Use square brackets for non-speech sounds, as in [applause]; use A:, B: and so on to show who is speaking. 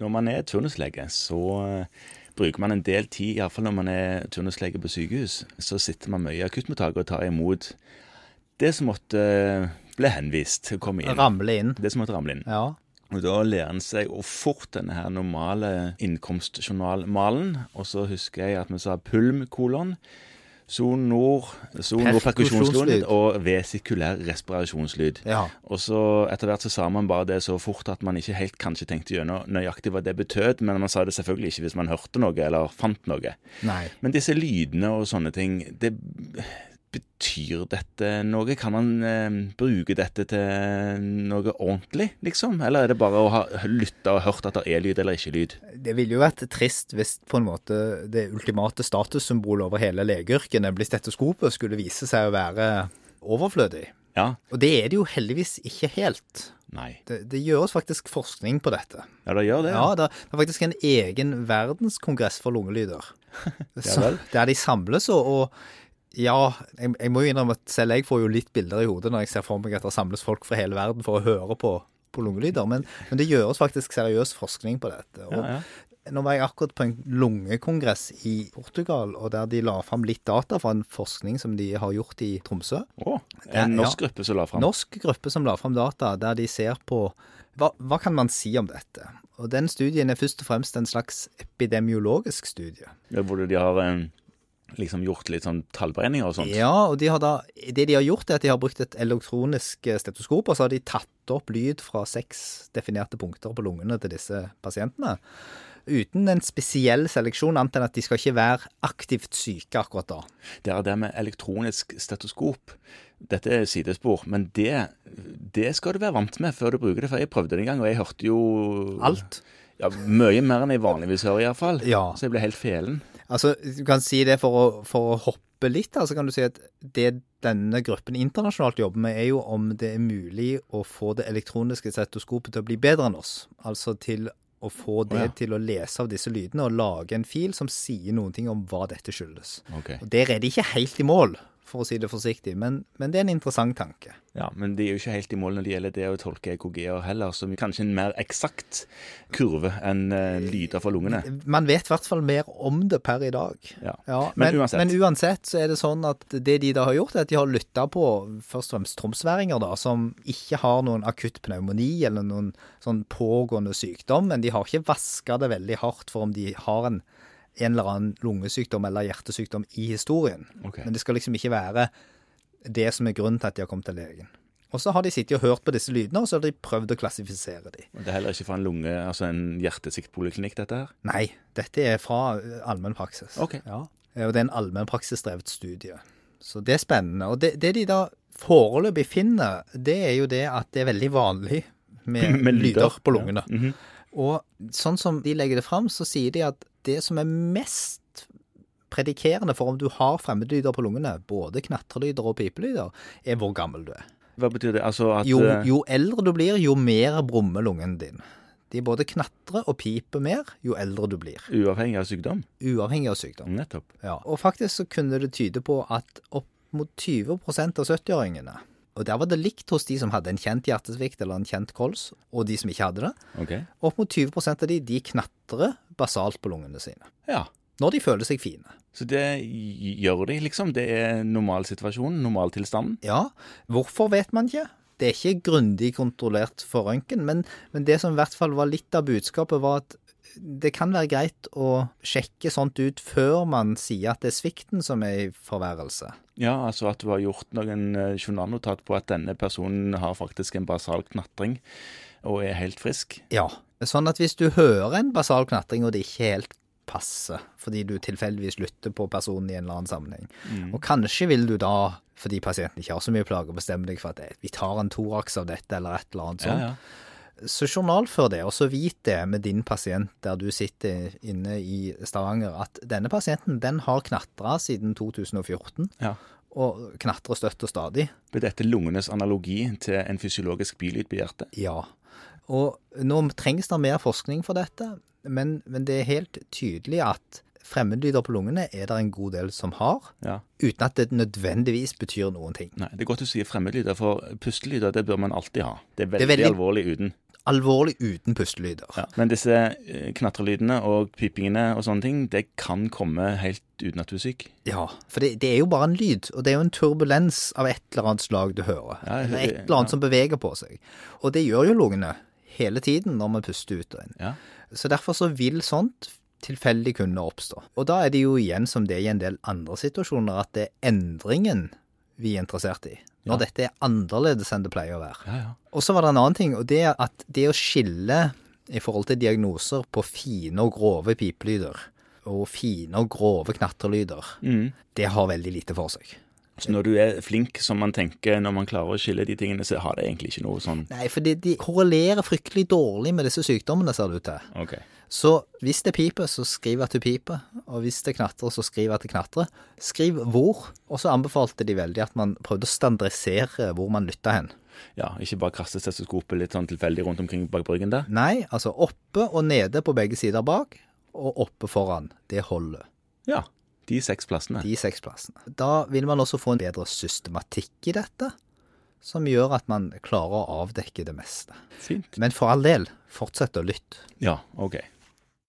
A: Når man er turnuslege, så eh, bruker man en del tid, iallfall når man er turnuslege på sykehus, så sitter man mye i akuttmottaket og tar imot det som måtte eh, bli henvist og komme inn.
B: Ramle inn.
A: Det som måtte ramle inn.
B: Ja.
A: Og Da lærer en seg å fort denne her normale innkomstjournalmalen. Og så husker jeg at vi sa pulm, kolon, sonor, sonor perkusjonslyd
B: Perkusjonslyd.
A: og vesikulær respirasjonslyd.
B: ja.
A: Og så etter hvert så sa man bare det så fort at man ikke helt kanskje tenkte gjennom nøyaktig hva det betød, men man sa det selvfølgelig ikke hvis man hørte noe eller fant noe.
B: Nei.
A: Men disse lydene og sånne ting, det betyr dette noe? Kan man eh, bruke dette til noe ordentlig, liksom? Eller er det bare å ha lytta og hørt at det er lyd eller ikke lyd?
B: Det ville jo vært trist hvis på en måte det ultimate statussymbolet over hele legeyrket, nemlig stetoskopet, skulle vise seg å være overflødig.
A: Ja?
B: Og det er det jo heldigvis ikke helt.
A: Nei.
B: Det, det gjøres faktisk forskning på dette.
A: Ja, det gjør det.
B: Ja, det, det er faktisk en egen verdenskongress for lungelyder.
A: [laughs] Ja vel.
B: Så- Der de samles og, og ja, jeg, jeg må jo innrømme at selv jeg får jo litt bilder i hodet når jeg ser for meg at det samles folk fra hele verden for å høre på, på lungelyder, men, men det gjøres faktisk seriøs forskning på dette. Og
A: Ja, ja.
B: Nå var jeg akkurat på en lungekongress i Portugal, og der de la fram litt data fra en forskning som de har gjort i Tromsø.
A: Å, en
B: Ja,
A: norsk gruppe som la fram.
B: Norsk gruppe som la fram data der de ser på hva, hva kan man si om dette. Og Den studien er først og fremst en slags epidemiologisk studie.
A: Hvor de har eh, liksom gjort litt sånn tallberegninger og sånt.
B: Ja, og de har da, Det de har gjort, er at de har brukt et elektronisk eh, stetoskop, og så har de tatt opp lyd fra seks definerte punkter på lungene til disse pasientene. Uten en spesiell seleksjon, annet enn at de skal ikke være aktivt syke akkurat da.
A: Det er det med elektronisk stetoskop. Dette er sidespor, men det, det skal du være vant med før du bruker det. For jeg prøvde det en gang, og jeg hørte jo
B: Alt.
A: Ja, Mye mer enn jeg vanligvis hører, iallfall.
B: Ja.
A: Så jeg ble helt felen.
B: Altså, du kan si det for å, for å hoppe litt, da, så kan du si at det denne gruppen internasjonalt jobber med, er jo om det er mulig å få det elektroniske stetoskopet til å bli bedre enn oss. Altså til å få det
A: Å, ja.
B: til å lese av disse lydene og lage en fil som sier noen ting om hva dette skyldes.
A: Ok.
B: Og Der er de ikke helt i mål, for å si det forsiktig, men, men det er en interessant tanke.
A: Ja, Men de er jo ikke helt i mål når det gjelder det å tolke E EKG-er heller, som kanskje en mer eksakt kurve enn eh, lyder fra lungene.
B: Man vet i hvert fall mer om det per i dag.
A: Ja.
B: Ja,
A: Men
B: men, men,
A: uansett.
B: uansett. så er det sånn at det de da har gjort, er at de har lytta på først og fremst tromsværinger, da, som ikke har noen akutt pneumoni eller noen sånn pågående sykdom, men de har ikke vaska det veldig hardt for om de har en, en eller annen lungesykdom eller hjertesykdom i historien.
A: Ok.
B: Men det skal liksom ikke være det som er grunnen til at de har kommet til legen. Og så har de sittet og hørt på disse lydene, og så har de prøvd å klassifisere de.
A: Det er heller ikke fra en lunge, altså en hjertesiktpoliklinikk, dette her.
B: Nei, dette er fra eh, allmennpraksis.
A: Ok.
B: Ja. Eh, Og det er en allmennpraksisdrevet studie. Så det er spennende. Og det, det de da foreløpig finner, det er jo det at det er veldig vanlig med,
A: [laughs] Med lyder,
B: lyder på lungene.
A: Mhm.
B: Og sånn som de legger det fram, så sier de at det som er mest predikerende for om du har fremmedlyder på lungene, både knatrelyder og pipelyder, er hvor gammel du er.
A: Hva betyr det? Altså at
B: Jo,
A: eh,
B: jo eldre du blir, jo mer brummer lungen din. De både knatrer og piper mer jo eldre du blir,
A: Uavhengig av sykdom?
B: uavhengig av sykdom.
A: Nettopp.
B: Ja. Og faktisk så kunne det tyde på at opp mot 20 av 70-åringene Og der var det likt hos de som hadde en kjent hjertesvikt eller en kjent kols, og de som ikke hadde det.
A: Ok.
B: Opp mot 20 av de, de knatrer basalt på lungene sine.
A: Ja.
B: Når de føler seg fine.
A: Så det gjør de, liksom. Det er normalsituasjonen, normaltilstanden.
B: Ja, hvorfor vet man ikke? Det er ikke grundig kontrollert for røntgen, men, men det som i hvert fall var litt av budskapet, var at det kan være greit å sjekke sånt ut før man sier at det er svikten som er i forværelse.
A: Ja, altså at du har gjort noen eh, journalnotat på at denne personen har faktisk en basal knatring og er helt frisk.
B: Ja. Sånn at hvis du hører en basal knatring, og det ikke helt passer, fordi du tilfeldigvis lytter på personen i en eller annen sammenheng,
A: Mm.
B: og kanskje vil du da, fordi pasienten ikke har så mye plager, bestemme deg for at eh, vi tar en toraks av dette, eller et eller annet sånt,
A: Ja, ja.
B: så journalfør det, og så vit det med din pasient der du sitter inne i Stavanger, at denne pasienten, den har knatra siden 2014,
A: Ja.
B: og knatrer støtt og stadig.
A: Blir dette lungenes analogi til en fysiologisk bilyd på hjertet?
B: Ja. Og nå trengs det mer forskning for dette, men, men det er helt tydelig at fremmedlyder på lungene er det en god del som har,
A: Ja.
B: uten at det nødvendigvis betyr noen ting.
A: Nei, det er godt du sier fremmedlyder, for pustelyder det bør man alltid ha. Det er veldig,
B: Det er veldig-
A: alvorlig uten.
B: alvorlig uten pustelyder.
A: Ja. Men disse eh, knatrelydene og pipingene og sånne ting, det kan komme helt uten at du er syk.
B: Ja, for det, det er jo bare en lyd, og det er jo en turbulens av et eller annet slag du hører.
A: Ja, jeg-
B: Eller et eller annet
A: ja.
B: som beveger på seg. Og det gjør jo lungene hele tiden når vi puster ut og inn.
A: Ja.
B: Så derfor så vil sånt tilfeldig kunne oppstå. Og da er det jo igjen som det er i en del andre situasjoner, at det er endringen vi er interessert i. Når dette er annerledes enn det pleier å være.
A: Ja, ja.
B: Og så var det en annen ting, og det er at det å skille i forhold til diagnoser på fine og grove pipelyder og fine og grove knatrelyder
A: Mm.
B: det har veldig lite for seg.
A: Så når du er flink, som man tenker når man klarer å skille de tingene, så har det egentlig ikke noe sånn
B: Nei, for de, de korrelerer fryktelig dårlig med disse sykdommene, ser det ut til.
A: OK.
B: Så hvis det piper, så skriv at det piper, og hvis det knatrer, så skriv at det knatrer. Skriv hvor, og så anbefalte de veldig at man prøvde å standardisere hvor man lytta hen.
A: Ja, ikke bare kaste stetoskopet litt sånn tilfeldig rundt omkring bak bryggen der.
B: Nei, altså oppe og nede på begge sider bak, og oppe foran. Det holder.
A: Ja. De seks plassene.
B: De seks plassene. Da vil man også få en bedre systematikk i dette, som gjør at man klarer å avdekke det meste.
A: Fint.
B: Men for all del, fortsett å lytte.
A: Ja, OK.